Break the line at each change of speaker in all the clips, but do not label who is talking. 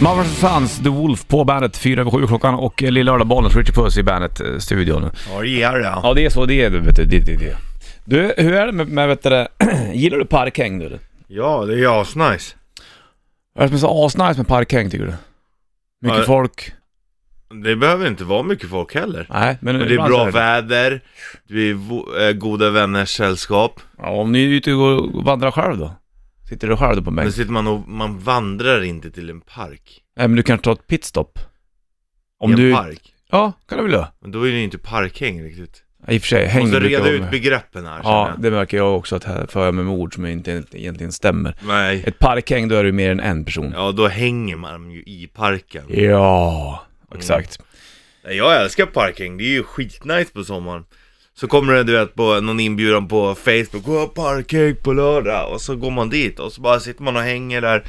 Mother Sons, The Wolf på bandet, fyra över sju klockan och eh, Lilla Lördag-bollen, Richie Puss i bandet-studion.
Ja, det är det.
Ja, det är så det är du, vet du. Det, det, det. Du, hur är det med, med vet du, det, gillar du parkhäng du?
Ja, det är asnice.
Vad är det som är så asnice med parkhäng tycker du? Mycket
Ja,
folk?
Det behöver inte vara mycket folk heller.
Nej, men...
Men det är
ibland
bra
så
väder, du är vo- eh, goda vänners sällskap.
Ja, om ni är ute och vandrar själv då? Sitter du själv då på en
Men
bänk?
sitter man och, man vandrar inte till en park.
Nej, men du kan ta ett pitstop. Om
I en
du...
park.
Ja, kan du väl göra.
Men då är det ju inte parkhäng riktigt.
Ja, I och för sig, häng
Måste
brukar
reda
vara
ut
med.
begreppen här
Ja,
ja.
det märker jag också att här för jag med ord som inte egentligen stämmer.
Nej.
Ett parkhäng, då är du mer än en person.
Ja, då hänger man ju i parken.
Ja, exakt.
Nej, Jag älskar parking, det är ju skitnice på sommaren. Så kommer det du vet på någon inbjudan på Facebook, gå parking på lördag! Och så går man dit och så bara sitter man och hänger där.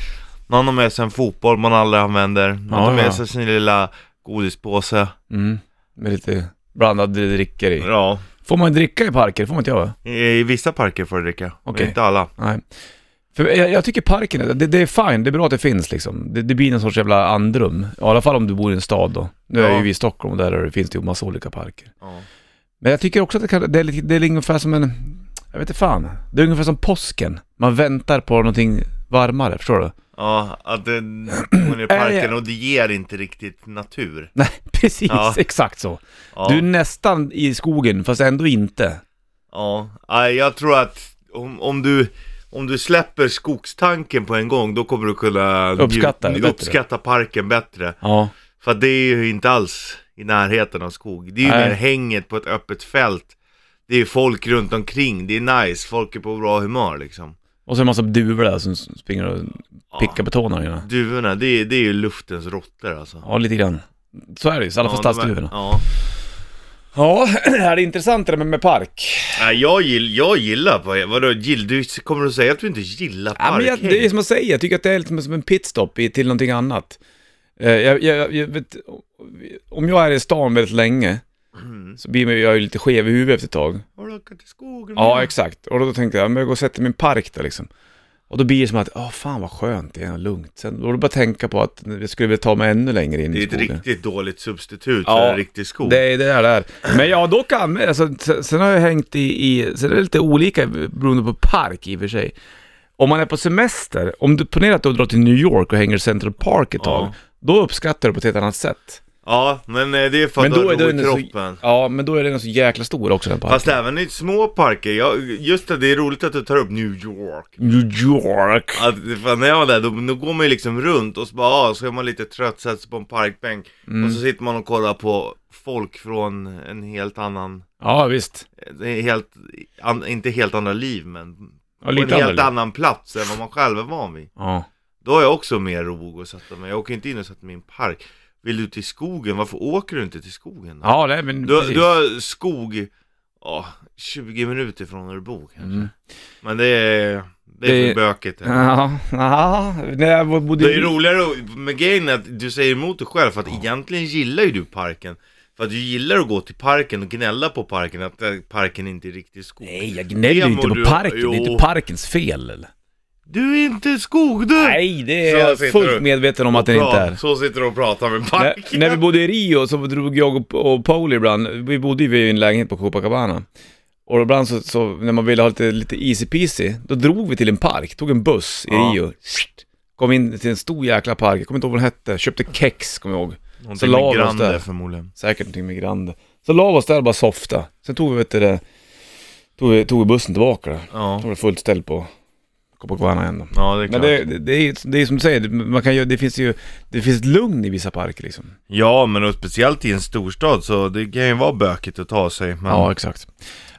Någon har med sig en fotboll man aldrig använder, någon
Ja,
har med
ja.
sig sin lilla godispåse.
Mm. Med lite blandad dricker i.
Ja,
Får man dricka i parker? får man inte göra va?
i, i vissa parker får du dricka,
Okej.
men inte alla.
Nej. För jag, jag tycker parken, är- det, det är fine, det är bra att det finns liksom. Det, det blir en sorts jävla andrum. I alla fall om du bor i en stad då. Nu är
Ja.
ju vi i Stockholm och där är det- finns det ju massa olika parker.
Ja.
Men jag tycker också att det, kan, det, är, lite, det är ungefär som en, jag vet inte fan. Det är ungefär som påsken. Man väntar på någonting varmare, förstår du?
Ja, att det, man är i parken
ja.
och det ger inte riktigt natur.
Nej, precis,
Ja.
exakt så.
Ja.
Du är nästan i skogen fast ändå inte.
Ja, nej, jag tror att om, om, du, om du släpper skogstanken på en gång då kommer du kunna
Uppskatta
nju-
det bättre.
uppskatta parken bättre.
Ja.
För att det är ju inte alls i närheten av skog. Det är ju
Nej.
mer hänget på ett öppet fält. Det är folk runt omkring, det är nice, folk är på bra humör liksom.
Och så en massa duvor där som springer och pickar på tårna. Ja.
Duvorna, det är, det är ju luftens råttor alltså.
ja, lite grann. Så är det ju, i alla fall
de är-
stadsduvorna.
Ja.
Ja, är det intressant det där med, med park?
Nej, jag, gill, jag gillar, på- vadå, gill, du kommer du säga att du inte gillar
Ja, men jag,
parkhäng?
det är som jag säger, jag tycker att det är lite som en pitstop i, till någonting annat. Eh, Jag, jag, jag vet, om jag är i stan väldigt länge
Mm.
så blir jag ju lite skev i huvudet efter ett tag.
Har du åkt till skogen?
Ja, exakt. Och då tänkte jag, men jag går och sätter mig i en park där liksom. Och då blir det som att, ja fan vad skönt det är, lugnt. Sen då är det bara att tänka på att jag skulle vilja ta mig ännu längre in
Det är
i
ett
skogen.
riktigt dåligt substitut
Ja,
för en riktig skog.
Det är det där det är. Men jag har dock använt, alltså, t- sen har jag hängt i, i, sen är det lite olika beroende på park i och för sig. Om man är på semester, om du ponera att du drar till New York och hänger i Central Park ett tag,
Ja.
då uppskattar du på ett helt annat sätt.
Ja, men eh, det är för att
Men
du
då
har
är
ro i
den så,
kroppen.
ja, men då är den så jäkla stor också den parken.
Fast även i små parker, jag, just det, det är roligt att du tar upp New York.
New York!
Att, för när jag var där, då, då går man ju liksom runt och så bara, ah, så är man lite trött, sätter sig på en parkbänk
Mm.
och så sitter man och kollar på folk från en helt annan,
Ja, visst.
eh, helt, an, inte helt andra liv men
Ja,
på en
lite
helt
annorlunda.
annan plats än vad man själv är van vid.
Ja.
Då har jag också mer ro att sätta mig, jag åker inte in och sätter mig i en park. Vill du till skogen, varför åker du inte till skogen? då?
Ja, nej men
Du,
precis.
du har skog, ja, 20 minuter från där du bor kanske. Men det är, det är
Mm. Det-
för bökigt. Det,
Ja, ja, när jag bodde
det är roligare att- med grejen är att du säger emot dig själv, för att egentligen gillar ju du parken. För att du gillar att gå till parken och gnälla på parken, att eh, parken inte är riktigt skog.
Nej, jag gnäller ju
Det
inte på
mår du-
parken, det är
Jo.
inte parkens fel eller?
Du är inte skog du!
Nej, det är
Så
jag
sitter du.
fullt medveten om att den inte
Bra,
är.
Så sitter du och pratar med
När,
parken.
när vi bodde i Rio så drog jag och, och Paul ibland, vi bodde ju i en lägenhet på Copacabana. Och ibland så, så när man ville ha lite, lite easy peasy, då drog vi till en park, tog en buss i
Ja.
Rio. Sht. Kom in till en stor jäkla park, jag kommer inte ihåg vad den hette, köpte kex kommer jag ihåg. Så
Någonting
la
med
vi oss
granne
där.
förmodligen.
Säkert någonting med Grande. Så la vi oss där och bara softa. Sen tog vi, vet du, det, tog vi, tog vi bussen tillbaka. Då
Ja,
Då var det fullt ställ på Copacabana igen då.
ja det är klart.
Men det, det, det, är, det är som du säger, det- man kan, ju- det finns ju det finns ett lugn i vissa parker liksom.
Ja, men och speciellt i en storstad så det kan ju vara bökigt att ta sig. Men...
Ja, exakt.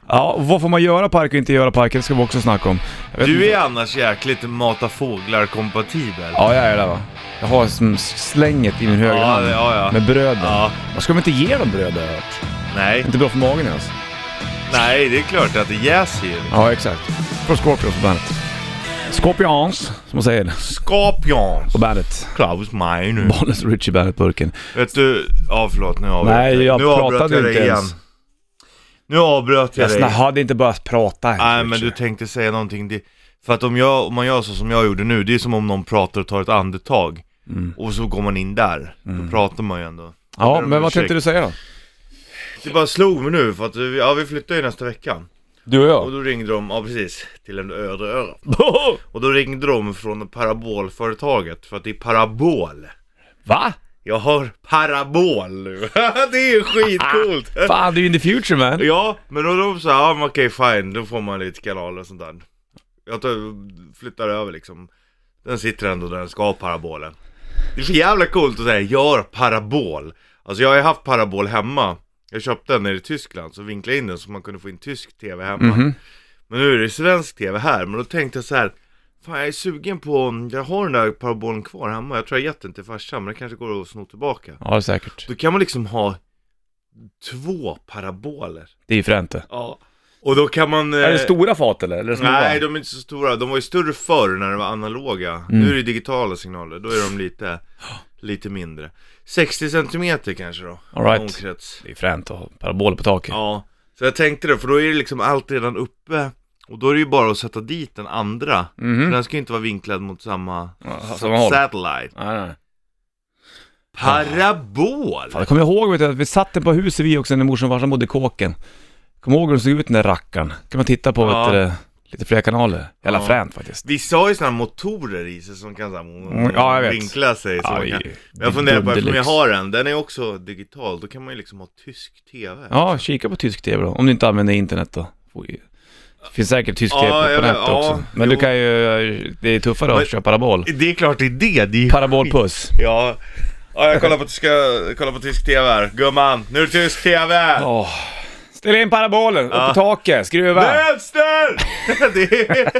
Ja, och vad får man göra i parker och inte göra i parker? Det ska vi också snacka om. Jag vet
Du
inte.
är annars jäkligt mata fåglar-kompatibel.
Ja, jag är det va. Jag har som slänget i min högra
Ja,
hand.
det- ja, ja.
Med bröden.
Ja.
Man ska väl inte ge dem bröd har jag hört?
Nej,
Inte bra för magen ens.
nej, det är klart att det jäser ju.
Ja, exakt. Från Scorpions på bandet. Scorpions, som man säger,
Scorpions!
på bandet.
Klaus May nu.
Bollnäs och Richie Bandet burken.
Vet du... Ja, förlåt, nu avbröt
Nej,
dig.
jag
nu
pratade
avbröt jag dig
inte
igen.
ens.
Nu avbröt jag
Jag
dig.
sna- hade inte börjat prata.
Nej, men
Richie.
du tänkte säga någonting. Det... För att om, jag, om man gör så som jag gjorde nu, det är som om någon pratar och tar ett andetag. Och så går man in där, då pratar man ju ändå Jag
Mm. Ja,
ber om
men vad
ursäkt.
tänkte du säga då?
Det bara slog mig nu för att, vi- ja vi flyttar ju nästa vecka
Du och
Och
jag?
då ringde de, ja precis, till en öde ö Och då ringde de från parabolföretaget för att det är parabol
Va?
Jag har parabol nu, det är ju skitcoolt!
Fan, det är ju in the future man.
ja, men då de sa, ja men okej fine, då får man lite kanaler och sånt där Jag tar, flyttar över liksom Den sitter ändå där den ska, parabolen Det är för jävla coolt att säga, jag har parabol Alltså jag har ju haft parabol hemma Jag köpte den nere i Tyskland, så vinklade jag in den så man kunde få in tysk tv hemma Men nu är det svensk tv här, men då tänkte jag så här. Fan jag är sugen på, jag har den där parabolen kvar hemma, jag tror jag gett den till farsan men det kanske går att sno tillbaka
Ja, det är säkert.
Då kan man liksom ha två paraboler
Det är ju fränt det.
Ja Och då kan man... eh,
Är det stora fat eller? eller små?
Nej de är inte så stora, de var ju större förr när de var analoga
Mm.
Nu är det digitala signaler, då är de lite, lite mindre 60 centimeter kanske då,
All right.
omkrets
Det är fränt att ha paraboler på taket.
Ja, så jag tänkte det, för då är det liksom allt redan uppe Och då är det ju bara att sätta dit den andra För den ska ju inte vara vinklad mot samma
Mm. Ja, alltså,
sa-
samma håll.
satellite
Nej, nej.
Parabol!
Fan, jag kommer ihåg vet du, att vi satt den på huset vi också när morsan och farsan bodde i kåken. Kommer ihåg hur den såg ut den där rackaren? kan man titta på
Ja.
vet du, det, lite fler kanaler. Jävla
Ja.
fränt faktiskt.
Vissa har ju sådana motorer i sig som kan så här,
Mm, ja, jag vet.
vinkla sig så
Ja,
man
det
kan...
är ju-
Men jag
det är
funderar på, eftersom jag
dunderlyx.
har en, den är också digital, då kan man ju liksom ha tysk TV
Ja, kika på tysk tv då. Om du inte använder internet då. Oj. Det finns säkert tysk
Ja,
tv på
jag vet,
nätet
ja,
också. Men
jo.
du kan ju... Det är tuffare
Men-
att köra parabol.
Det är klart det är det, det är ju skit.
Parabolpuss.
Ja. ja, jag kollar på, tyska, kollar på tysk TV här, gumman, nu är det tysk TV!
Åh. Ställ in parabolen, upp på taket, skruva.
Vänster! det är...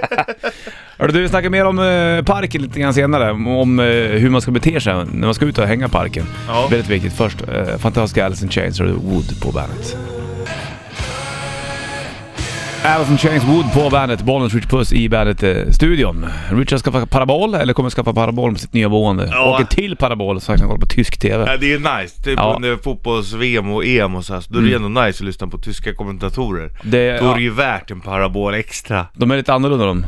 Hörru du, vi snackar mer om eh, parken lite grann senare. Om, om eh, hur man ska bete sig när man ska ut och hänga i parken.
Ja.
Väldigt viktigt. Först eh, fantastiska Alice in Chains och Wood på bandet. Alice in Chains Wood på bandet, Bollnäs Rich Puss i bandet-studion. Richard ska skaffa parabol, eller kommer skaffa parabol på sitt nya boende.
Ja.
Åker till parabol så han kan kolla på tysk TV.
Ja, det är ju nice, typ
Ja.
under fotbolls-VM och EM och så här, så då är det ändå nice att lyssna på tyska kommentatorer.
Det,
Då är
ja,
det ju värt en parabol extra.
de är lite annorlunda de.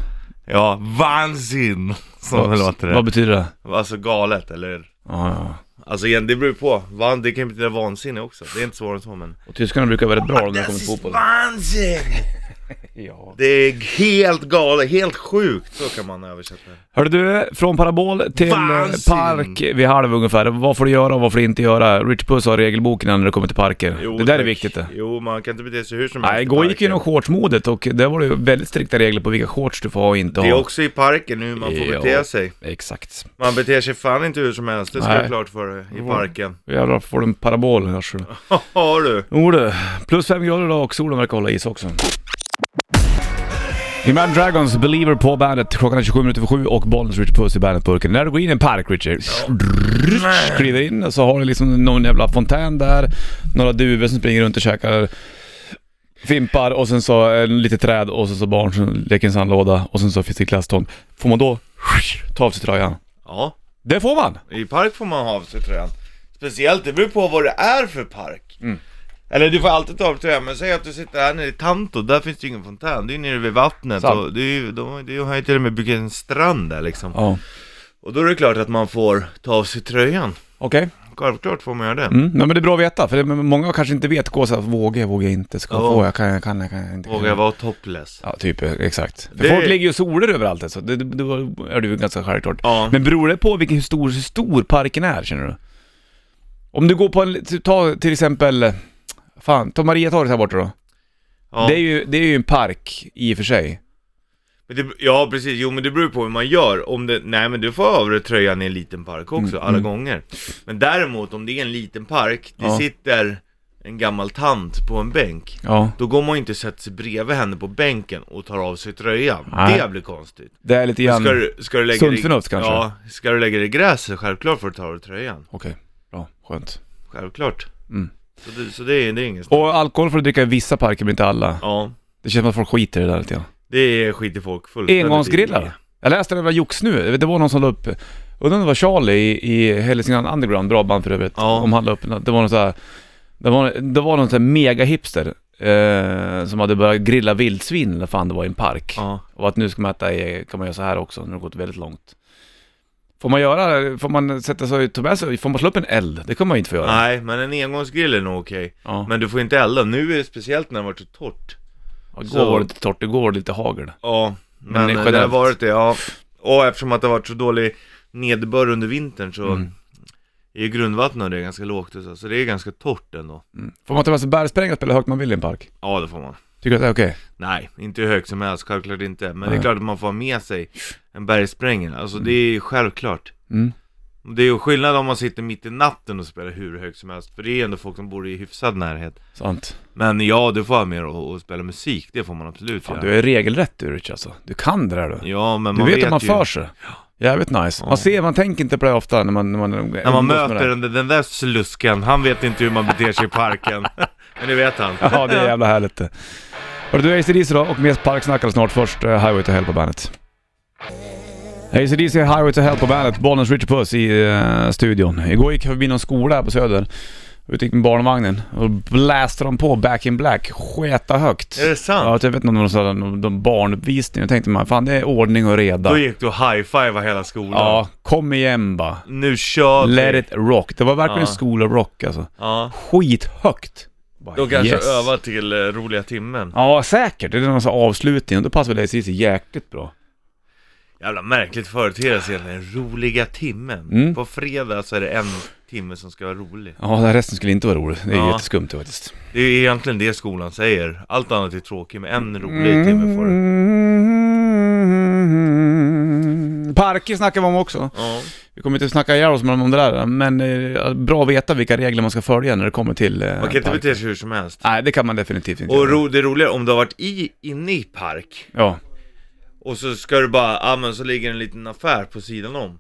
Ja, vansin! Som det låter
Vad
det.
betyder det?
Alltså galet, eller
Ja, ja.
Alltså igen, det beror ju på. Van, det kan ju betyda vansinne också. Det är inte svårare än så men...
Och tyskarna brukar vara rätt bra när det kommer till fotboll.
vansinne!
Ja.
Det är helt galet, helt sjukt. Så kan man översätta det.
Hörde du, från parabol till
Vansin.
park vid halv ungefär. Vad får du göra och vad får du inte göra? Rich Puss har regelboken när det kommer till parker. det där är
tack.
viktigt det.
Jo, man kan inte bete sig hur som helst
Nej,
i
igår gick ju
parken.
inom shortsmodet och där var det ju väldigt strikta regler på vilka shorts du får ha och inte
Det är
ha.
också i parken hur man får
Ja.
bete sig.
Exakt.
Man beter sig fan inte hur som helst, det ska
Nej.
du klart för dig, i parken.
Jävlar, får du en parabol hörs du.
Har du?
Jo du, plus fem grader idag och solen verkar hålla i sig också. Imagine Dragons, Believer på bandet. Klockan är 27 minuter över sju och Bollnäs Richard Puss i bandetburken. När du går in i en park Richard, kliver in och så har du liksom någon jävla fontän där, några duvor som springer runt och käkar fimpar och sen så eh, lite träd och sen så barn som leker i en sandlåda och sen så finns det glasstånd. Får man då ta av sig tröjan?
Ja,
Det får man!
i park får man ha av sig tröjan. Speciellt, det beror på vad det är för park.
Mm.
Eller du får alltid ta av dig tröjan, men säg att du sitter här nere i Tanto, där finns det ju ingen fontän, det är ju nere vid vattnet
Sant.
och det är ju, de, de har ju till och med byggt en strand där liksom.
Ja.
Och då är det klart att man får ta av sig tröjan.
Okej.
Självklart får man göra det.
Mm. Nej, men det är bra att veta, för det, men många kanske inte vet. Gå såhär, vågar jag, vågar jag inte? Ska jag
Ja.
få, jag kan, jag kan, jag kan jag inte.
Våga vara topless.
Ja, typ exakt. För
Det-
folk ligger ju och solar överallt alltså. Det, det, det var- är det ju ganska självklart.
Ja.
Men beror det på vilken, hur, stor, hur stor parken är, känner du? Om du går på en, ta till exempel, fan, ta Mariatorget här borta då.
Ja.
Det, är ju, det är ju en park i och för sig.
Men det, ja precis, jo men det beror på hur man gör. Om det, nej men du får ha av dig tröjan i en liten park också,
Mm,
alla gånger. Men däremot om det är en liten park, det
Ja.
sitter en gammal tant på en bänk.
Ja.
Då går man ju inte och sätter sig bredvid henne på bänken och tar av sig tröjan.
Nej.
Det blir konstigt.
Det är lite grann...
Ska du, ska du lägga
Sunt
dig-
förnuft kanske?
Ja, ska du lägga dig i gräset, självklart får du ta av dig tröjan.
Okej, bra, skönt.
Självklart.
Mm.
Så, det, så det, är- det är inget snack.
Och alkohol får du dricka i vissa parker, men inte alla.
Ja,
Det känns som att folk skiter i det där lite grann.
det skiter folk fullständigt i.
Engångsgrillar. Jag läste en jävla jox nu, det var någon som la upp, undrar om det var Charlie i, i Hälsingland Underground, bra band för övrigt,
Ja.
om han la upp, det var någon sån här, det var, det var någon sån här mega-hipster eh, som hade börjat grilla vildsvin eller fan det var i en park.
Ja.
Och att nu ska man äta, i- kan man göra så här också, när det har gått väldigt långt. Får man göra, får man sätta sig, ta med sig, får man slå upp en eld? Det kan man ju inte få göra.
Nej, men en engångsgrill är nog okej.
Ja.
Men du får inte elda. Nu är det speciellt när det har varit så torrt.
Ja, Igår
så-
var det lite torrt, igår var det lite hagel.
Ja, men,
det är
eh, det har
generellt.
varit det. Ja. Och eftersom att det har varit så dålig nederbörd under vintern så
Mm.
är ju grundvattnet och det är ganska lågt och så, så det är ganska torrt ändå.
Mm. Får man ta med sig bärsprängare och spela högt man vill i en park?
Ja, det får man.
Tycker du att det är okej?
Nej, inte hur högt som helst, självklart inte. Men det är
Nej.
klart att man får ha med sig en bergsprängare, alltså det är självklart.
Mm.
Det är ju skillnad om man sitter mitt i natten och spelar hur högt som helst, för det är ändå folk som bor i hyfsad närhet.
Sant.
Men ja, du får ha med och, och spela musik, det får man absolut
Fan,
göra.
du är regelrätt du Rich alltså. Du kan det där du.
Ja, men
Du
man
vet,
vet
att man
ju.
för sig. Jävligt nice. Man ser, man tänker inte på det ofta när man... När man,
När man möter den, den där slusken, han vet inte hur man beter sig i parken. Men det vet han.
Ja, det är jävla härligt det. Hörru du, AC/DC då och mer parksnack alldeles snart. Först eh, Highway to Hell på bandet. AC/DC Highway to Hell på bandet. Bollnäs Richard Puss i eh, studion. Igår gick jag förbi någon skola här på Söder. Ute gick med barnvagnen och bläste de på Back in Black. Sketa högt.
Är det sant?
Ja, jag vet inte om de sa någon någon barnuppvisning. Jag tänkte man, fan det är ordning och reda.
Då gick du och high-fivade hela skolan.
Ja, kom igen bara.
Nu kör vi.
Let it rock. Det var verkligen
Ja.
school of rock alltså.
Ja.
Skithögt. Bara,
Då kanske
yes.
öva till eh, roliga timmen.
Ja, säkert. Det är någon sån här avslutning och då passar väl ACDC jäkligt bra.
Jävla märkligt företeelse egentligen. Roliga timmen.
Mm.
På fredag så är det en timme som ska vara rolig.
Ja, den här resten skulle inte vara rolig. Det är
Ja.
jätteskumt det faktiskt.
Det är egentligen det skolan säger. Allt annat är tråkigt, men en rolig timme
Mm.
får du.
Parker snackar vi om också.
Ja.
Vi kommer inte snacka ihjäl oss med dem om det där, men eh, bra att veta vilka regler man ska följa när det kommer till eh,
Man kan inte
park.
bete sig hur som helst.
Nej, det kan man definitivt inte
Och
göra.
ro, det roliga är om du har varit i, inne i park
Ja.
och så ska du bara, ja men så ligger en liten affär på sidan om.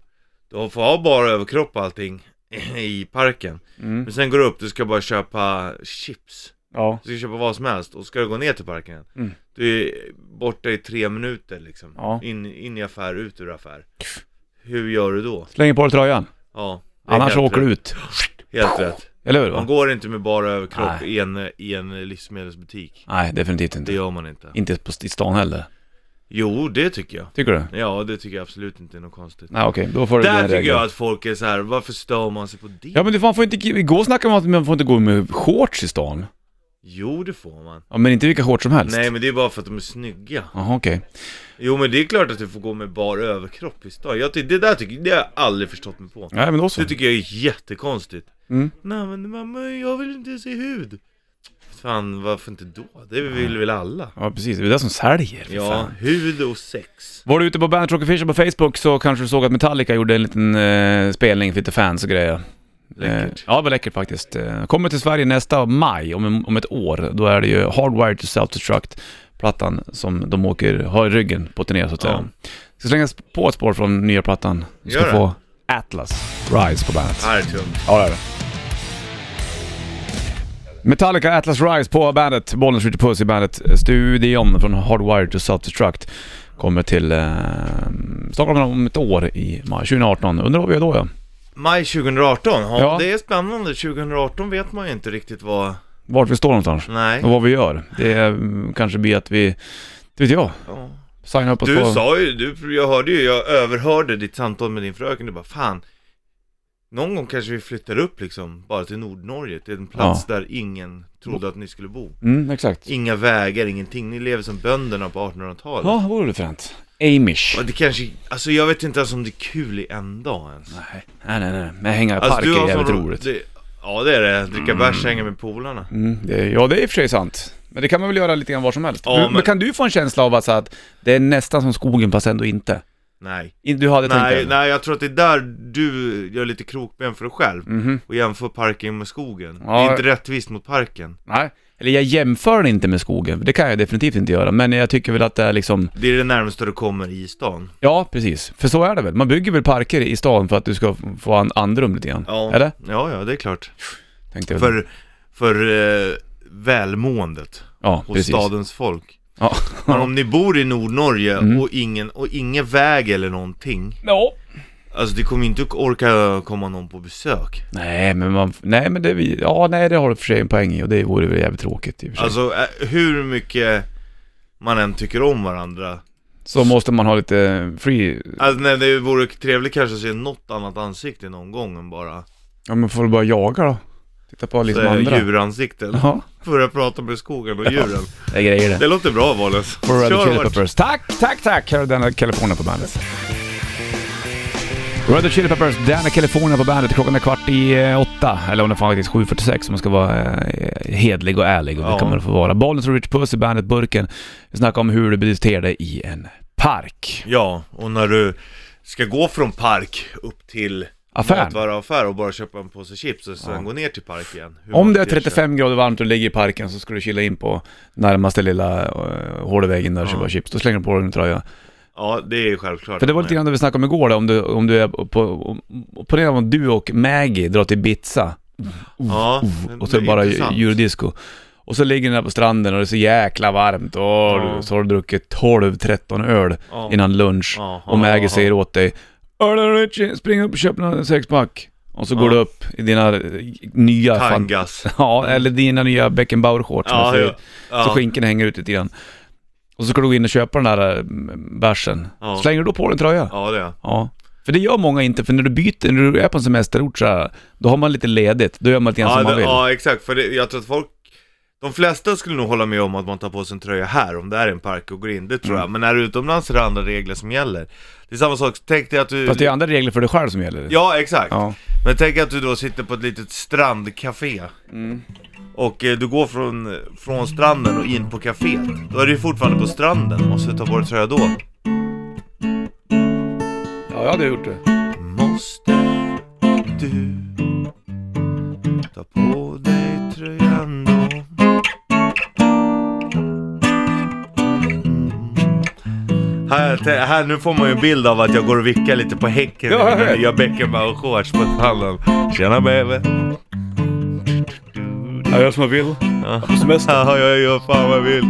Du får ha bara överkropp och allting i parken.
Mm.
Men sen går du upp, du ska bara köpa chips.
Ja.
Du ska köpa vad som helst och ska du gå ner till parken
Mm.
Du är borta i tre minuter liksom
Ja.
in, in i affär, ut ur affär Hur gör du då?
Slänger på dig tröjan.
Ja det är
Annars
helt
åker
rätt.
du ut.
Helt rätt
Eller hur?
Man
Va?
går inte med bara överkropp i en, i en livsmedelsbutik
Nej, definitivt
Det
inte.
gör man inte
Inte på, i stan heller.
Jo, det tycker jag
Tycker du?
Ja, det tycker jag absolut inte är något konstigt
Nej, okej. Då får du dina
Där tycker
regler.
jag att folk är så här. varför stör man sig på det?
Ja men du, man får inte, igår snackade man om att man får inte gå med shorts i stan.
Jo, det får man
Ja men inte vilka shorts som helst.
Nej men det är bara för att de är snygga
Jaha okej.
Jo men det är klart att du får gå med bar överkropp i stan Jag ty- Det där tycker det har jag aldrig förstått mig på
Nej men då så.
Det tycker jag är jättekonstigt
Mm.
Nej men mamma, jag vill inte se hud Fan, varför inte då? Det vill väl alla?
Ja precis, det är det som säljer för
Ja,
fan.
hud och sex
Var du ute på Bandit Rock Official på Facebook så kanske du såg att Metallica gjorde en liten eh, spelning för lite fans och grejer.
Läckert.
Eh, ja, det var läckert faktiskt. Eh, kommer till Sverige nästa maj, om, om ett år. Då är det ju Hardwired to Self-Destruct, plattan som de åker, har i ryggen på turné så att säga. Ska slängas på ett spår från nya plattan. Du ska
Gör det.
få Atlas Rise på bandet.
Här är tungt
Ja, det är det. Metallica Atlas Rise på bandet, bollen skjuter puss i bandet. Studion från Hardwired to Self-Destruct kommer till eh, Stockholm om ett år i maj 2018. Undrar vad vi gör då ja.
Maj 2018, ja,
Ja.
det är spännande 2018 vet man ju inte riktigt vad...
Vart vi står någonstans
Nej
och vad vi gör. Det eh, kanske blir att vi, det vet jag,
ja.
signar upp oss
Du
på...
sa ju, du, jag hörde ju, jag överhörde ditt samtal med din fröken Du bara, fan Någon gång kanske vi flyttar upp liksom, bara till Nordnorge Till en plats där ingen trodde att ni skulle bo
Mm, exakt.
Inga vägar, ingenting. Ni lever som bönderna på 1800-talet.
Ja, vad vore det fränt? Amish.
Och det kanske, alltså jag vet inte ens om det är kul i en dag ens.
Nej, nej, nej. nej. Men hänga i
Alltså,
parker är jävligt
sån-
roligt.
Det, ja det är det, dricka bärs, hänga med polarna.
Mm, det, ja, det är i och för sig sant. Men det kan man väl göra lite grann var som helst.
Ja,
Du- men,
men-
kan du få en känsla av att, så att det är nästan som skogen fast ändå inte?
Nej.
In- Du hade tänkt
Nej,
det?
nej, jag tror att det är där du gör lite krokben för dig själv
Mhm.
och jämför parken med skogen.
Ja.
Det är inte rättvist mot parken.
nej. Eller jag jämför inte med skogen, för det kan jag definitivt inte göra. Men jag tycker väl att det är liksom,
Det är det närmaste du kommer i stan.
ja precis. För så är det väl. Man bygger väl parker i stan för att du ska f- få an- andrum lite grann.
Ja.
Eller?
Ja, ja, det är klart.
Tänkte jag. väl.
För, för eh, välmåendet
ja,
hos
precis.
stadens folk.
Ja. Mm.
Men om ni bor i Nordnorge och, ingen, och ingen väg eller någonting
Ja.
Alltså det kommer inte att orka komma någon på besök
Nej men man, nej men det, är vi- ja nej det har du för sig en poäng i och det vore väl jävligt tråkigt i och för sig.
Alltså eh, hur mycket man än tycker om varandra
så måste man ha lite free...
Alltså, nej, det vore trevligt kanske att se något annat ansikte någon gång än bara
Ja men får du bara jaga då? Titta på liksom
så här
andra.
djuransikten.
Ja,
Börja prata med skogen och djuren.
det är grejer det.
Det låter bra Valens.
For Red
Kör
Chili
hårt.
Peppers. Tack, tack, tack! Här är Dana California på bandet. Red Hot Chili Peppers, Dana California på bandet. Klockan är kvart i eh, åtta, eller om det fan faktiskt är 7.46 om man ska vara eh, hedlig och ärlig. Och det
Ja.
kan man få vara. Bollnäs och Rich Puss i bandet Burken. Vi snackar om hur du beter dig i en park.
Ja, och när du ska gå från park upp till
Affären.
matvaruaffär och bara köpa en påse chips och sen gå ner till park igen. Hur
Om
man
det är
beter sig.
35 grader varmt och du ligger i parken så ska du kila in på närmaste lilla uh, hålvägen där och
Ja.
köpa chips. Då slänger du på dig en tröja.
Ja, det är ju självklart.
För det var lite grann det vi snackade om igår då, om du, om du är på, om- ponera om du och Maggie drar till Ibiza
Ja,
Oh, och så är
det
det bara
intressant.
eurodisco. Och så ligger ni där på stranden och det är så jäkla varmt och
Ja.
så har du druckit 12-13 öl
Ja.
innan lunch
Ja, ja,
och Maggie
ja,
säger åt dig Ölen Richie, spring upp och köp en sexpack. Och så går
Ja.
du upp i dina eh, nya... fan-
Tangas.
Ja, eller dina nya Beckenbauer-shorts. som jag
Ja,
säger.
ja, ja.
Så skinken hänger ut lite grann. Och så ska du gå in och köpa den där eh, bärsen.
Ja.
Slänger du då på dig en tröja?
Ja, det är
Ja. För det gör många inte, för när du byter, när du är på en semesterort så här, då har man lite ledigt. Då gör man lite grann
ja,
som man
det,
vill.
ja, exakt. För det, jag tror att folk... De flesta skulle nog hålla med om att man tar på sig en tröja här om det är en park och går in. Det tror jag.
Mm.
Men när du är utomlands är det andra regler som gäller. Det är samma sak. Tänk dig att du...
Fast det är andra regler för dig själv som gäller.
Ja, exakt.
Ja.
Men tänk att du då sitter på ett litet strandcafé
Mm.
Och eh, du går från, från stranden och in på caféet Då är du ju fortfarande på stranden, måste du ta på dig tröja då?
ja, jag hade gjort det.
Måste du ta på dig tröjan då? Mm. Här, te- här, nu får man ju en bild av att jag går och vickar lite på häcken
Ja,
i
jag
mina
vet.
nya Beckenbauer-shorts på stranden. Tjena baby!
Jag gör som jag vill.
Ja. Ja, jag gör fan vad jag vill.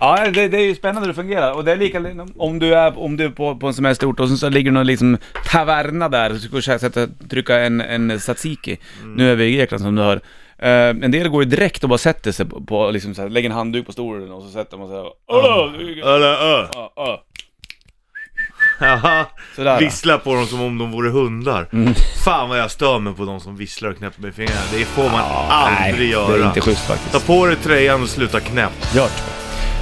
Ja, det, det är ju spännande hur det fungerar. Och det är lika om du är, om du är på, på en semesterort och sen så ligger det någon liksom taverna där. Så ska du säga- sätta, trycka en, en tzatziki. Nu är vi i Grekland som du hör. Eh, en del går ju direkt och bara sätter sig på, på liksom så här, lägger en handduk på stolen och så sätter man sig och Åh!
Eller ö.
Ja, ja.
Haha.
Sådär.
Vissla på dem som om de vore hundar.
Mm.
Fan vad jag stör mig på de som visslar och knäpper med fingrarna. Det får man aldrig
Nej,
göra.
det är inte schysst faktiskt.
Ta på dig tröjan och sluta knäppa.
Gjort.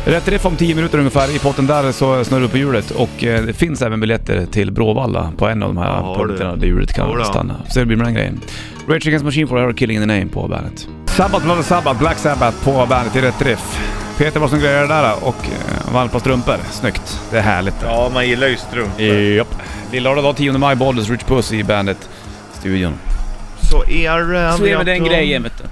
Rätt riff om 10 minuter ungefär. I potten där så snurrar du på hjulet och eh, det finns även biljetter till Bråvalla på en av de här
Ja,
punkterna
du.
där hjulet kan
Jodå.
stanna. Så det blir med den grejen. Rage Against Machine får höra Killing in the Name på bandet. Sabbath, Blood Sabbath, Black Sabbath på bandet i Rätt Riff. Peter var som grejade det där och eh, vann på strumpor. Snyggt. Det är härligt.
Ja, man gillar ju strumpor.
Japp. Lillördag dag 10 maj, Bollnäs, Rich Puss i bandet-studion.
Så är det.
Så är det
Anton.
den grejen vet du.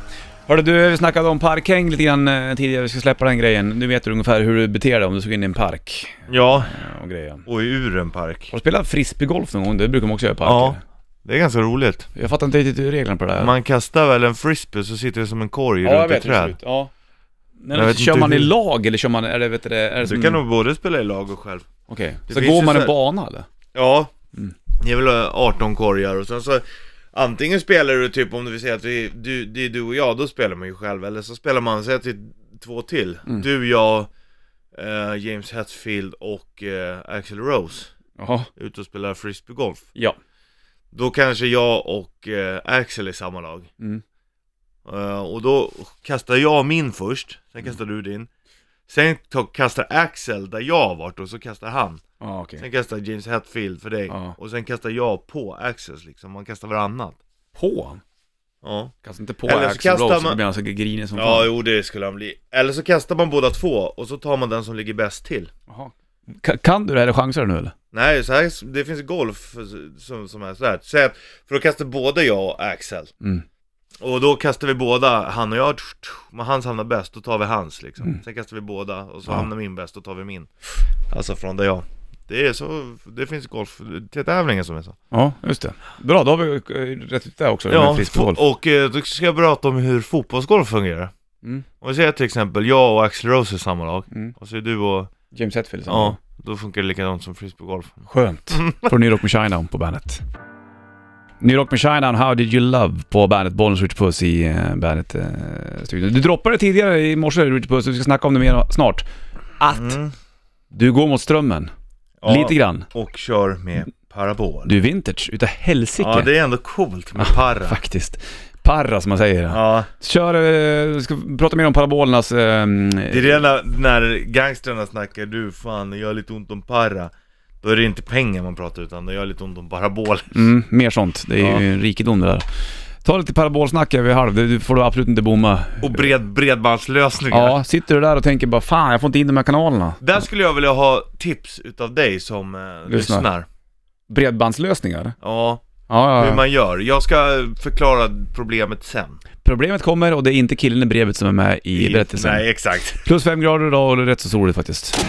Hörde du, vi snackade om parkhäng lite grann eh, tidigare, vi ska släppa den grejen. Nu vet du ungefär hur du beter dig om du ska in i en park
Ja,
eh, och grejer. Har
och ur en park.
du spelat frisbeegolf någon gång? Det brukar man också göra i
Ja,
parker.
det är ganska roligt.
Jag fattar inte riktigt hur reglerna på det där.
Man kastar väl en frisbee så sitter det som en korg
ja, jag
runt ett
vet hur det ser
träd.
ut. Ja. Men
Jag vet
kör
inte
man i
hur.
lag eller kör man, är det, vet du, det- är det som...
Du kan nog både spela i lag och själv.
Okej,
det
så
finns
går
ju
man
så
en
här-
bana eller?
Ja, det är väl eh, 18 korgar och sen så Antingen spelar du typ om du vill säga att vi, du, det är du och jag, då spelar man ju själv Eller så spelar man, säg att det är två till Du, jag, eh, James Hetfield och eh, Axel Rose
Jaha.
Ute och spelar frisbeegolf
Ja.
Då kanske jag och eh, Axel är samma lag
Mm.
Eh, Och då kastar jag min först, sen kastar du din Sen ta- kastar Axel där jag har varit och så kastar han
Ja, okej.
Sen kastar James Hetfield för dig
Ja.
och sen kastar jag på Access liksom, man kastar varannat.
På?
Ja.
Kastar inte på
Eller så
Axel
kastar
Rose, så
man-
då blir han så grinig som
ja,
fan.
jo det skulle han bli. Eller så kastar man båda två och så tar man den som ligger bäst till.
Jaha. Ka- Kan du det här eller chansar du nu eller?
Nej, så här, det finns golf som, som är sådär. Så att, för då kastar både jag och Axel.
Mm.
Och då kastar vi båda, han och jag, tsch, tsch, men hans hamnar bäst, då tar vi hans liksom. Sen kastar vi båda och så
Mm. Ja.
hamnar min bäst, då tar vi min. Alltså från där jag. Det är så, det finns golf, till tävlingar som är så.
Ja, just det. Bra, då har vi eh, rätt ut det också. det
Ja,
med frisbeegolf.
fo- och eh, då ska jag prata om hur fotbollsgolf fungerar.
Mm.
Om vi säger till exempel jag och Axel Rose är samma lag,
Mm.
och så är du och...
James Hetfield. sen.
Ja, då funkar det likadant som frisbeegolf.
Skönt. Från New Rock med Shinedown på bandet. New Rock med Shinedown, How Did You Love på bandet Bollnäs Ritchie Puss i eh, bandet eh, studion. Du droppade det tidigare i morse Ritchie Puss, vi ska snacka om det mer snart. Att Du går mot strömmen.
Ja,
Mm. Lite grann.
Och kör med parabol.
Du Ah, är vintage utav helsike.
ja, det är ändå coolt med parra.
Faktiskt. Parra som man säger.
Ja,
Kör, eh, vi ska prata mer om parabolernas... Eh,
det är redan när gangstrarna snackar du fan, jag har lite ont om parra. Då är det inte pengar man pratar utan då gör jag lite ont om parabol.
mm, mer sånt. Det är ju en rikedom det där. Ta lite parabolsnack över halv, det det får du absolut inte bomma.
Och bred, bredbandslösningar.
Ja, sitter du där och tänker bara fan jag får inte in de här kanalerna.
Där skulle jag vilja ha tips utav dig som eh, lyssnar.
Bredbandslösningar?
Ja,
Ja,
hur
ja, ja.
man gör. Jag ska förklara problemet sen.
Problemet kommer och det är inte killen i brevet som är med i berättelsen.
Nej, exakt.
Plus fem grader idag och det är rätt så soligt faktiskt.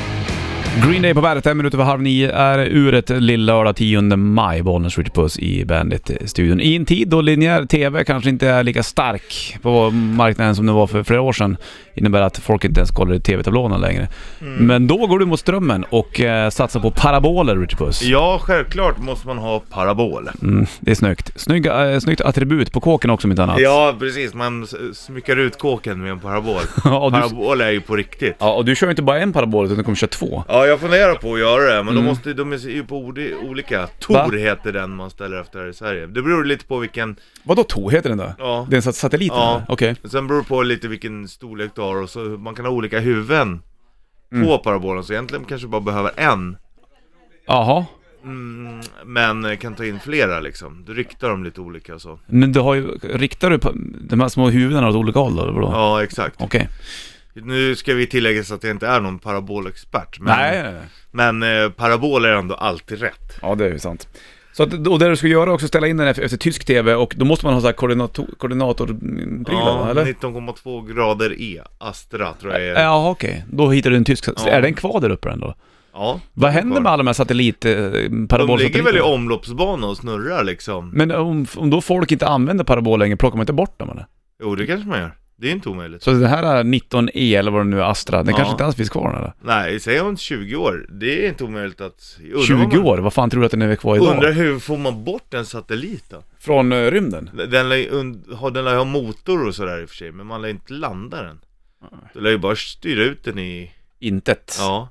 Green Day på bandet, en minut över halv nio är uret lillördag 10 maj. Bollnäs Richard Puss i Bandit-studion. I en tid då linjär TV kanske inte är lika stark på marknaden som den var för flera år sedan. Innebär att folk inte ens kollar i TV-tablåerna längre.
Mm.
Men då går du mot strömmen och eh, satsar på paraboler Richard Puss.
Ja, självklart måste man ha parabol.
Mm, det är snyggt. Snygg, eh, snyggt attribut på kåken också om inte annat.
Ja, precis. Man s- smyckar ut kåken med en parabol.
Ja, och du,
Parabol är ju på riktigt.
ja, och du kör ju inte bara en parabol utan du kommer köra två.
Ja, jag funderar på att göra det, men de, måste, de är ju på ord- olika. Tor
Mm. Va?
heter den man ställer efter här i Sverige. Det beror lite på vilken...
Vadå Tor heter den då?
Ja.
Det är en sat- satellit?
Ja.
eller? Okej.
Sen beror det på lite vilken storlek du har och så man kan ha olika huvuden
Mm.
på parabolen. Så egentligen kanske bara behöver en.
Jaha.
Mm, men eh, kan ta in flera liksom. Du riktar dem lite olika och så.
Men du har ju, riktar du på de här små huvudena åt olika håll då, eller vadå?
Ja, Mm. exakt.
Okej.
Nu ska vi tillägga så att jag inte är någon parabolexpert. Men,
Nej, nej, nej.
men eh, parabol är ändå alltid rätt.
Ja, det är ju sant. Så att, och det du ska göra är också ställa in den efter, efter tysk TV och då måste man ha så här koordinator, koordinatorprylar va,
Ja,
eller?
19,2 grader E, Astra tror jag är.
Ja, okej. Då hittar du en tysk...
Ja.
Är det en kvar där uppe ändå?
Ja.
Vad händer med alla de här satellit... Eh,
De ligger väl i
parabolsatelliterna?
omloppsbana och snurrar liksom.
Men om, om då folk inte använder parabol längre, plockar man inte bort dem eller?
Jo, det kanske man gör. Det är inte omöjligt.
Så den här 19E eller vad det nu är, Astra, den
Ja.
kanske inte alls finns kvar den, eller?
Nej, säg om 20 år. Det är inte omöjligt att... Undrar vad
20
man-
år, vad fan tror du att den är kvar idag?
Undrar hur får man bort den satelliten?
Från eh, rymden?
Den lär ju und- ha- den lär ju ha motor och sådär i och för sig, men man lär ju inte landa den. Du lär ju bara styra ut den i...
Intet.
Ja.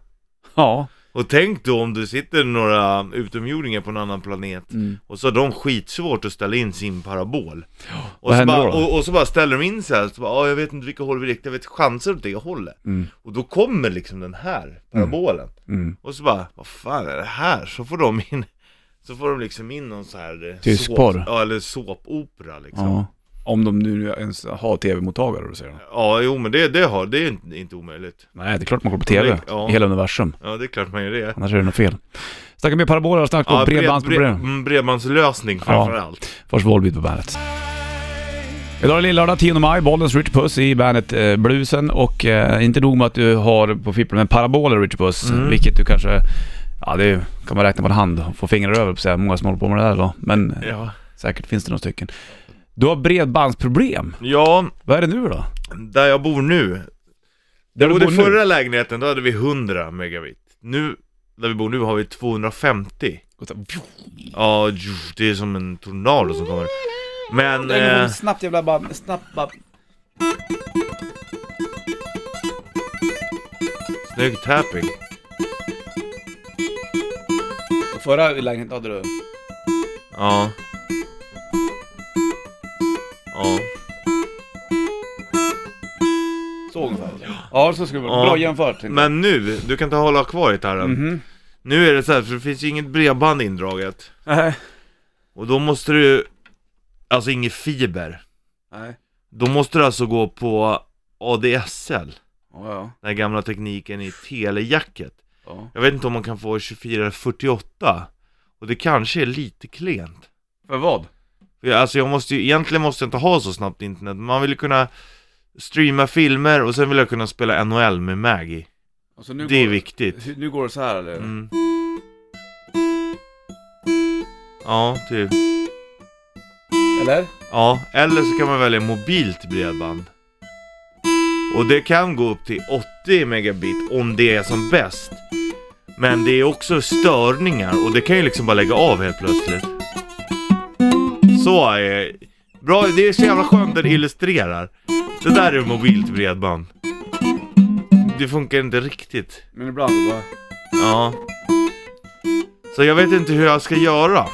ja.
Och tänk då om du sitter några utomjordingar på en annan planet
Mm.
och så har de skitsvårt att ställa in sin parabol. Och,
vad
så
händer
bara,
då då?
och, och så bara ställer de in så här, så bara, ah, jag vet inte vilka håll vi riktar, jag vet chanser åt det hållet. Och då kommer liksom den här parabolen.
Mm.
Och så bara, vad fan är det här? Så får de in, så får de liksom in någon så här eh,
Tysk
såp-
porr.
Ja, eller såpopera liksom.
Ja. Om de nu ens har tv-mottagare du säger.
Ja, jo men det, det, har, det är ju inte, inte omöjligt.
Nej, det är klart man kollar på tv
Ja.
i hela universum.
Ja, det är klart man gör det.
Annars är det något fel. Snacka med paraboler och snack om
bred-
bredbandsproblem.
bre- mm, bredbandslösning framförallt.
Vars Volbeat på bandet. Idag är det lillördag 10 maj, Bollens Rich Puss i bandet eh, Bluesen och eh, inte nog med att du har på fipplen en paraboler Rich Puss,
Mm.
vilket du kanske, ja det kan man räkna på en hand och få fingrar över på så här många som håller på med det där då. Men eh,
Ja.
säkert finns det några stycken. Du har bredbandsproblem.
ja,
Vad är det nu då?
där jag bor nu.
Där
Jo,
du
den
bor nu?
förra lägenheten, då hade vi 100 megabit. Nu, där vi bor nu, har vi 250. Ja, ju, det är som en tornado som kommer. Men... Eh,
Snabbt jävla bara, snabbt bara.
snygg tapping.
Förra lägenheten hade du...
Ja. Ja.
Så ungefär? Ja, så skulle det vara.
Ja.
Bra jämfört. Mhm.
Men nu, du kan inte hålla kvar gitarren.
Mm.
Nu är det så här, för det finns ju inget bredband indraget.
Nej.
Och då måste du... Alltså inget fiber.
Nej.
Då måste du alltså gå på ADSL.
Ja, ja.
Den här gamla tekniken i telejacket.
ja.
Jag vet inte om man kan få 24 eller 48. Och det kanske är lite klent.
För vad?
För jag- Alltså jag måste ju, egentligen måste jag inte ha så snabbt internet. men Man vill ju kunna streama filmer och sen vill jag kunna spela NHL med Maggie.
Alltså, nu
Det är
går-
viktigt.
Nu går det så här eller?
Mm. Ja, typ.
Eller?
Ja, eller så kan man välja mobilt bredband. Och det kan gå upp till 80 megabit om det är som bäst. Men det är också störningar och det kan ju liksom bara lägga av helt plötsligt. Så är Bra, det är så jävla skönt att det illustrerar. Det där är mobilt bredband. Det funkar inte riktigt.
Men ibland så bara...
Ja. Så jag vet inte hur jag ska göra.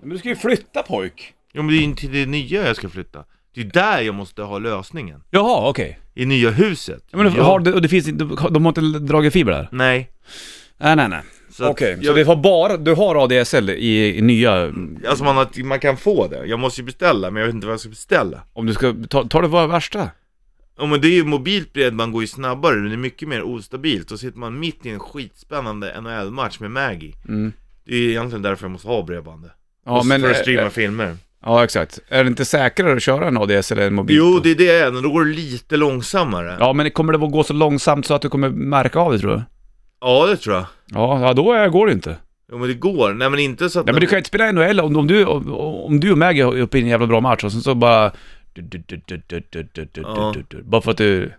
Men du ska ju flytta pojk.
Jo men det är ju inte till det nya jag ska flytta. Det är ju där jag måste ha lösningen.
Jaha, okej.
I nya huset.
Ja, men
Ja.
har det, och det finns inte, de har inte dragit fiber där?
Nej.
Nej, nej, nej.
Så att
Okej, så
jag-
du har bara, du har ADSL i, i nya,
Alltså man, har, man kan få det. Jag måste ju beställa, men jag vet inte vad jag ska beställa.
om du ska, ta, ta det var värsta.
Ja men det är ju mobilt bredband går ju snabbare, men det är mycket mer ostabilt. Och sitter man mitt i en skitspännande NHL-match med Maggie.
Mm.
Det är ju egentligen därför jag måste ha bredbandet.
Ja,
Och
men,
för att
eh,
streama
eh,
filmer.
ja, exakt. Är det inte säkrare att köra en ADSL än en mobil?
Jo, det är det jag är, men då går det lite långsammare. Ja,
Ja, men kommer det att gå så långsamt så att du kommer märka av det, tror du?
det tror jag.
Ja, ja då är, går det inte.
Jo men det går. Nej men inte så att...
Nej, men du kan ju inte spela NHL om, om, du, om, om du och Maggie är uppe i en jävla bra match och sen så bara... du- du- du- du- du- du- du- du-
Ja.
du- du- Bara för att du...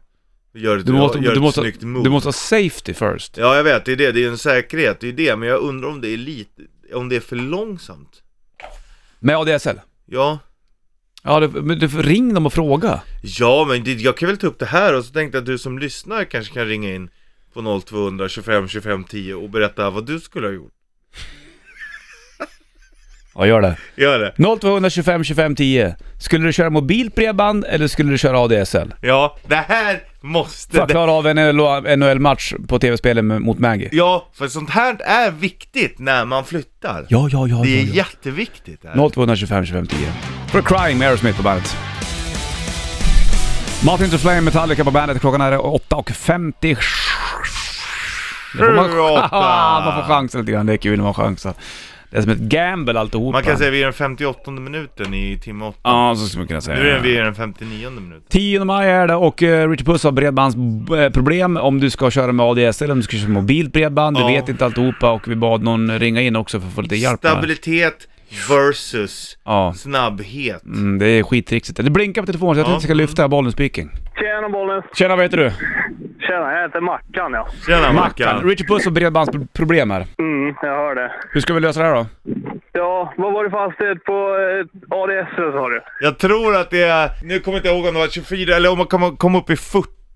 Gör ett,
Du måste,
gör
du,
ett
måste,
snyggt move.
du måste ha safety first.
Ja jag vet, det är det. Det är en säkerhet, det är det. Men jag undrar om det är lite... Om det är för långsamt.
Med ADSL.
Ja.
Ja, du, men du, får- ring dem och fråga.
Ja men det, jag kan väl ta upp det här och så tänkte jag att du som lyssnar kanske kan ringa in på 0200 25 25 10 och berätta vad du skulle ha gjort.
Ja, gör det.
Gör det.
0225 25 10. Skulle du köra mobilt bredband eller skulle du köra ADSL?
Ja, det här måste...
För att klara av en NHL-match på tv-spelen med- mot Maggie.
Ja, för sånt här är viktigt när man flyttar.
Ja, ja, ja.
Det är
ja, ja.
jätteviktigt. det Här.
0225 25 10. For Crying med Aerosmith på bandet. Martin to Flame Metallica på bandet. Klockan är 8.50. Det får man,
Sjuåtta.
man får chansa lite grann. Det är kul när man chansar. Det är som ett gamble alltihopa.
Man kan säga vi är den 58 minuten i timme 8.
Ja, så skulle man kunna säga.
Nu är vi i den 59 minuten.
10 maj är det och eh, Richard Puss har bredbandsproblem om du ska köra med ADSL eller om du ska köra mobilt bredband.
Ja.
Du vet inte alltihopa och vi bad någon ringa in också för att få lite hjälp. med det här.
Stabilitet versus
Ja,
snabbhet.
mm, det är skittrixigt. Det blinkar på telefonen så jag
Ja.
tänkte jag ska lyfta bollen speaking.
Tjena Bollnäs!
Tjena, vad heter du?
Tjena, jag heter Mackan ja.
Tjena
Mackan.
Mackan.
Richard Puss har bredbandsproblem här.
Mm, jag hör det.
Hur ska vi lösa det här då?
Ja, vad var det för hastighet på eh, ADS sa du?
Jag tror att det är, nu kommer jag inte ihåg om det var 24 eller om man kom, kom upp i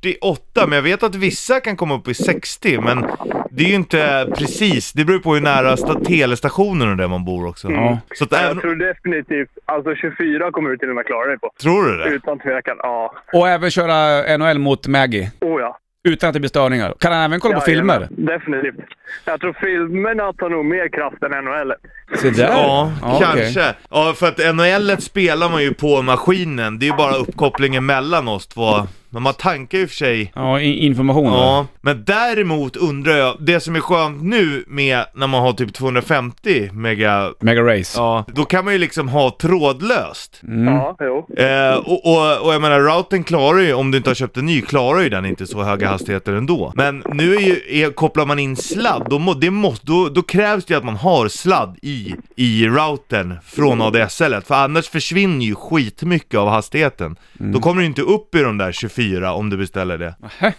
48, men jag vet att vissa kan komma upp i 60, men det är ju inte precis, det beror på hur nära sta- telestationen och där man bor också.
Ja.
Så att även,
Jag tror definitivt, alltså 24 kommer du till och med klara dig på.
tror du det?
Utan tvekan, ja.
Och även köra NHL mot Maggie.
Oh ja.
Utan att det blir störningar. Kan han även kolla på
Jajamän,
filmer?
Definitivt. Jag tror filmerna tar nog mer kraft än NHL.
Se där.
Ja,
okej.
kanske. Ja, för att NHL et spelar man ju på maskinen. Det är ju bara uppkopplingen mellan oss två. Men man tankar ju för sig.
Ja, i- information.
Ja, men däremot undrar jag, det som är skönt nu med när man har typ 250 mega,
Mega Race.
ja, då kan man ju liksom ha trådlöst.
Ja, jo.
Eh, och, och, och jag menar, routern klarar ju, om du inte har köpt en ny, klarar ju den inte så höga hastigheter ändå. Men nu är ju, är, kopplar man in sladd, då, må, det måste, då, då krävs det ju att man har sladd i, i routern från ADSL, för annars försvinner ju skitmycket av hastigheten. Då kommer du inte upp i de där 24 om du beställer det.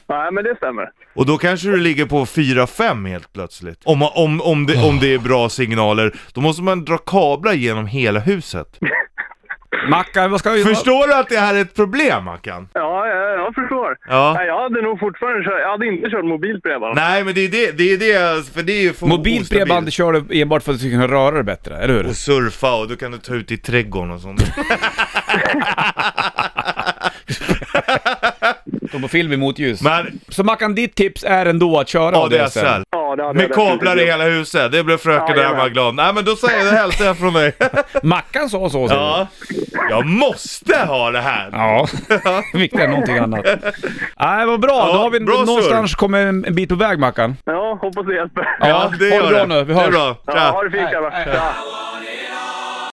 Nej, men det stämmer.
Och då kanske du ligger på 4-5 helt plötsligt. Om, man- om, om, det, om det är bra signaler, då måste man dra kablar genom hela huset.
Mackan, vad ska vi...
Förstår du att det här är ett problem, Mackan?
Ja, jag, jag förstår.
Ja.
Nej, jag hade nog fortfarande kört, jag hade inte kört mobilt bredband.
Nej men det är det, det är det, för det är ju för
Mobilt
ostabilt.
bredband kör du enbart för att du ska kunna röra dig bättre, eller hur?
Och surfa och då kan du ta ut i trädgården och sånt.
Stå på film i motljus.
Men
Så Mackan, ditt tips är ändå att köra
ADSL.
Ja, det hade jag
Med
definitivt
kablar i
gjort.
hela huset, det blev fröken
Ja,
ja,
jajamän.
glad. Nej men då säger du hälsar jag från mig.
Mackan sa så, säger du.
Ja. Jag måste ha det här!
Ja, viktigare än någonting annat. Nej, vad bra.
Ja,
Då har vi
bra, Sir.
någonstans kommit en en bit på väg, Mackan.
Ja, hoppas det hjälper.
Ja, ha det bra nu. Vi
Det är
hörs.
bra.
Ja, ha
Tja.
det fint grabbar. Ja.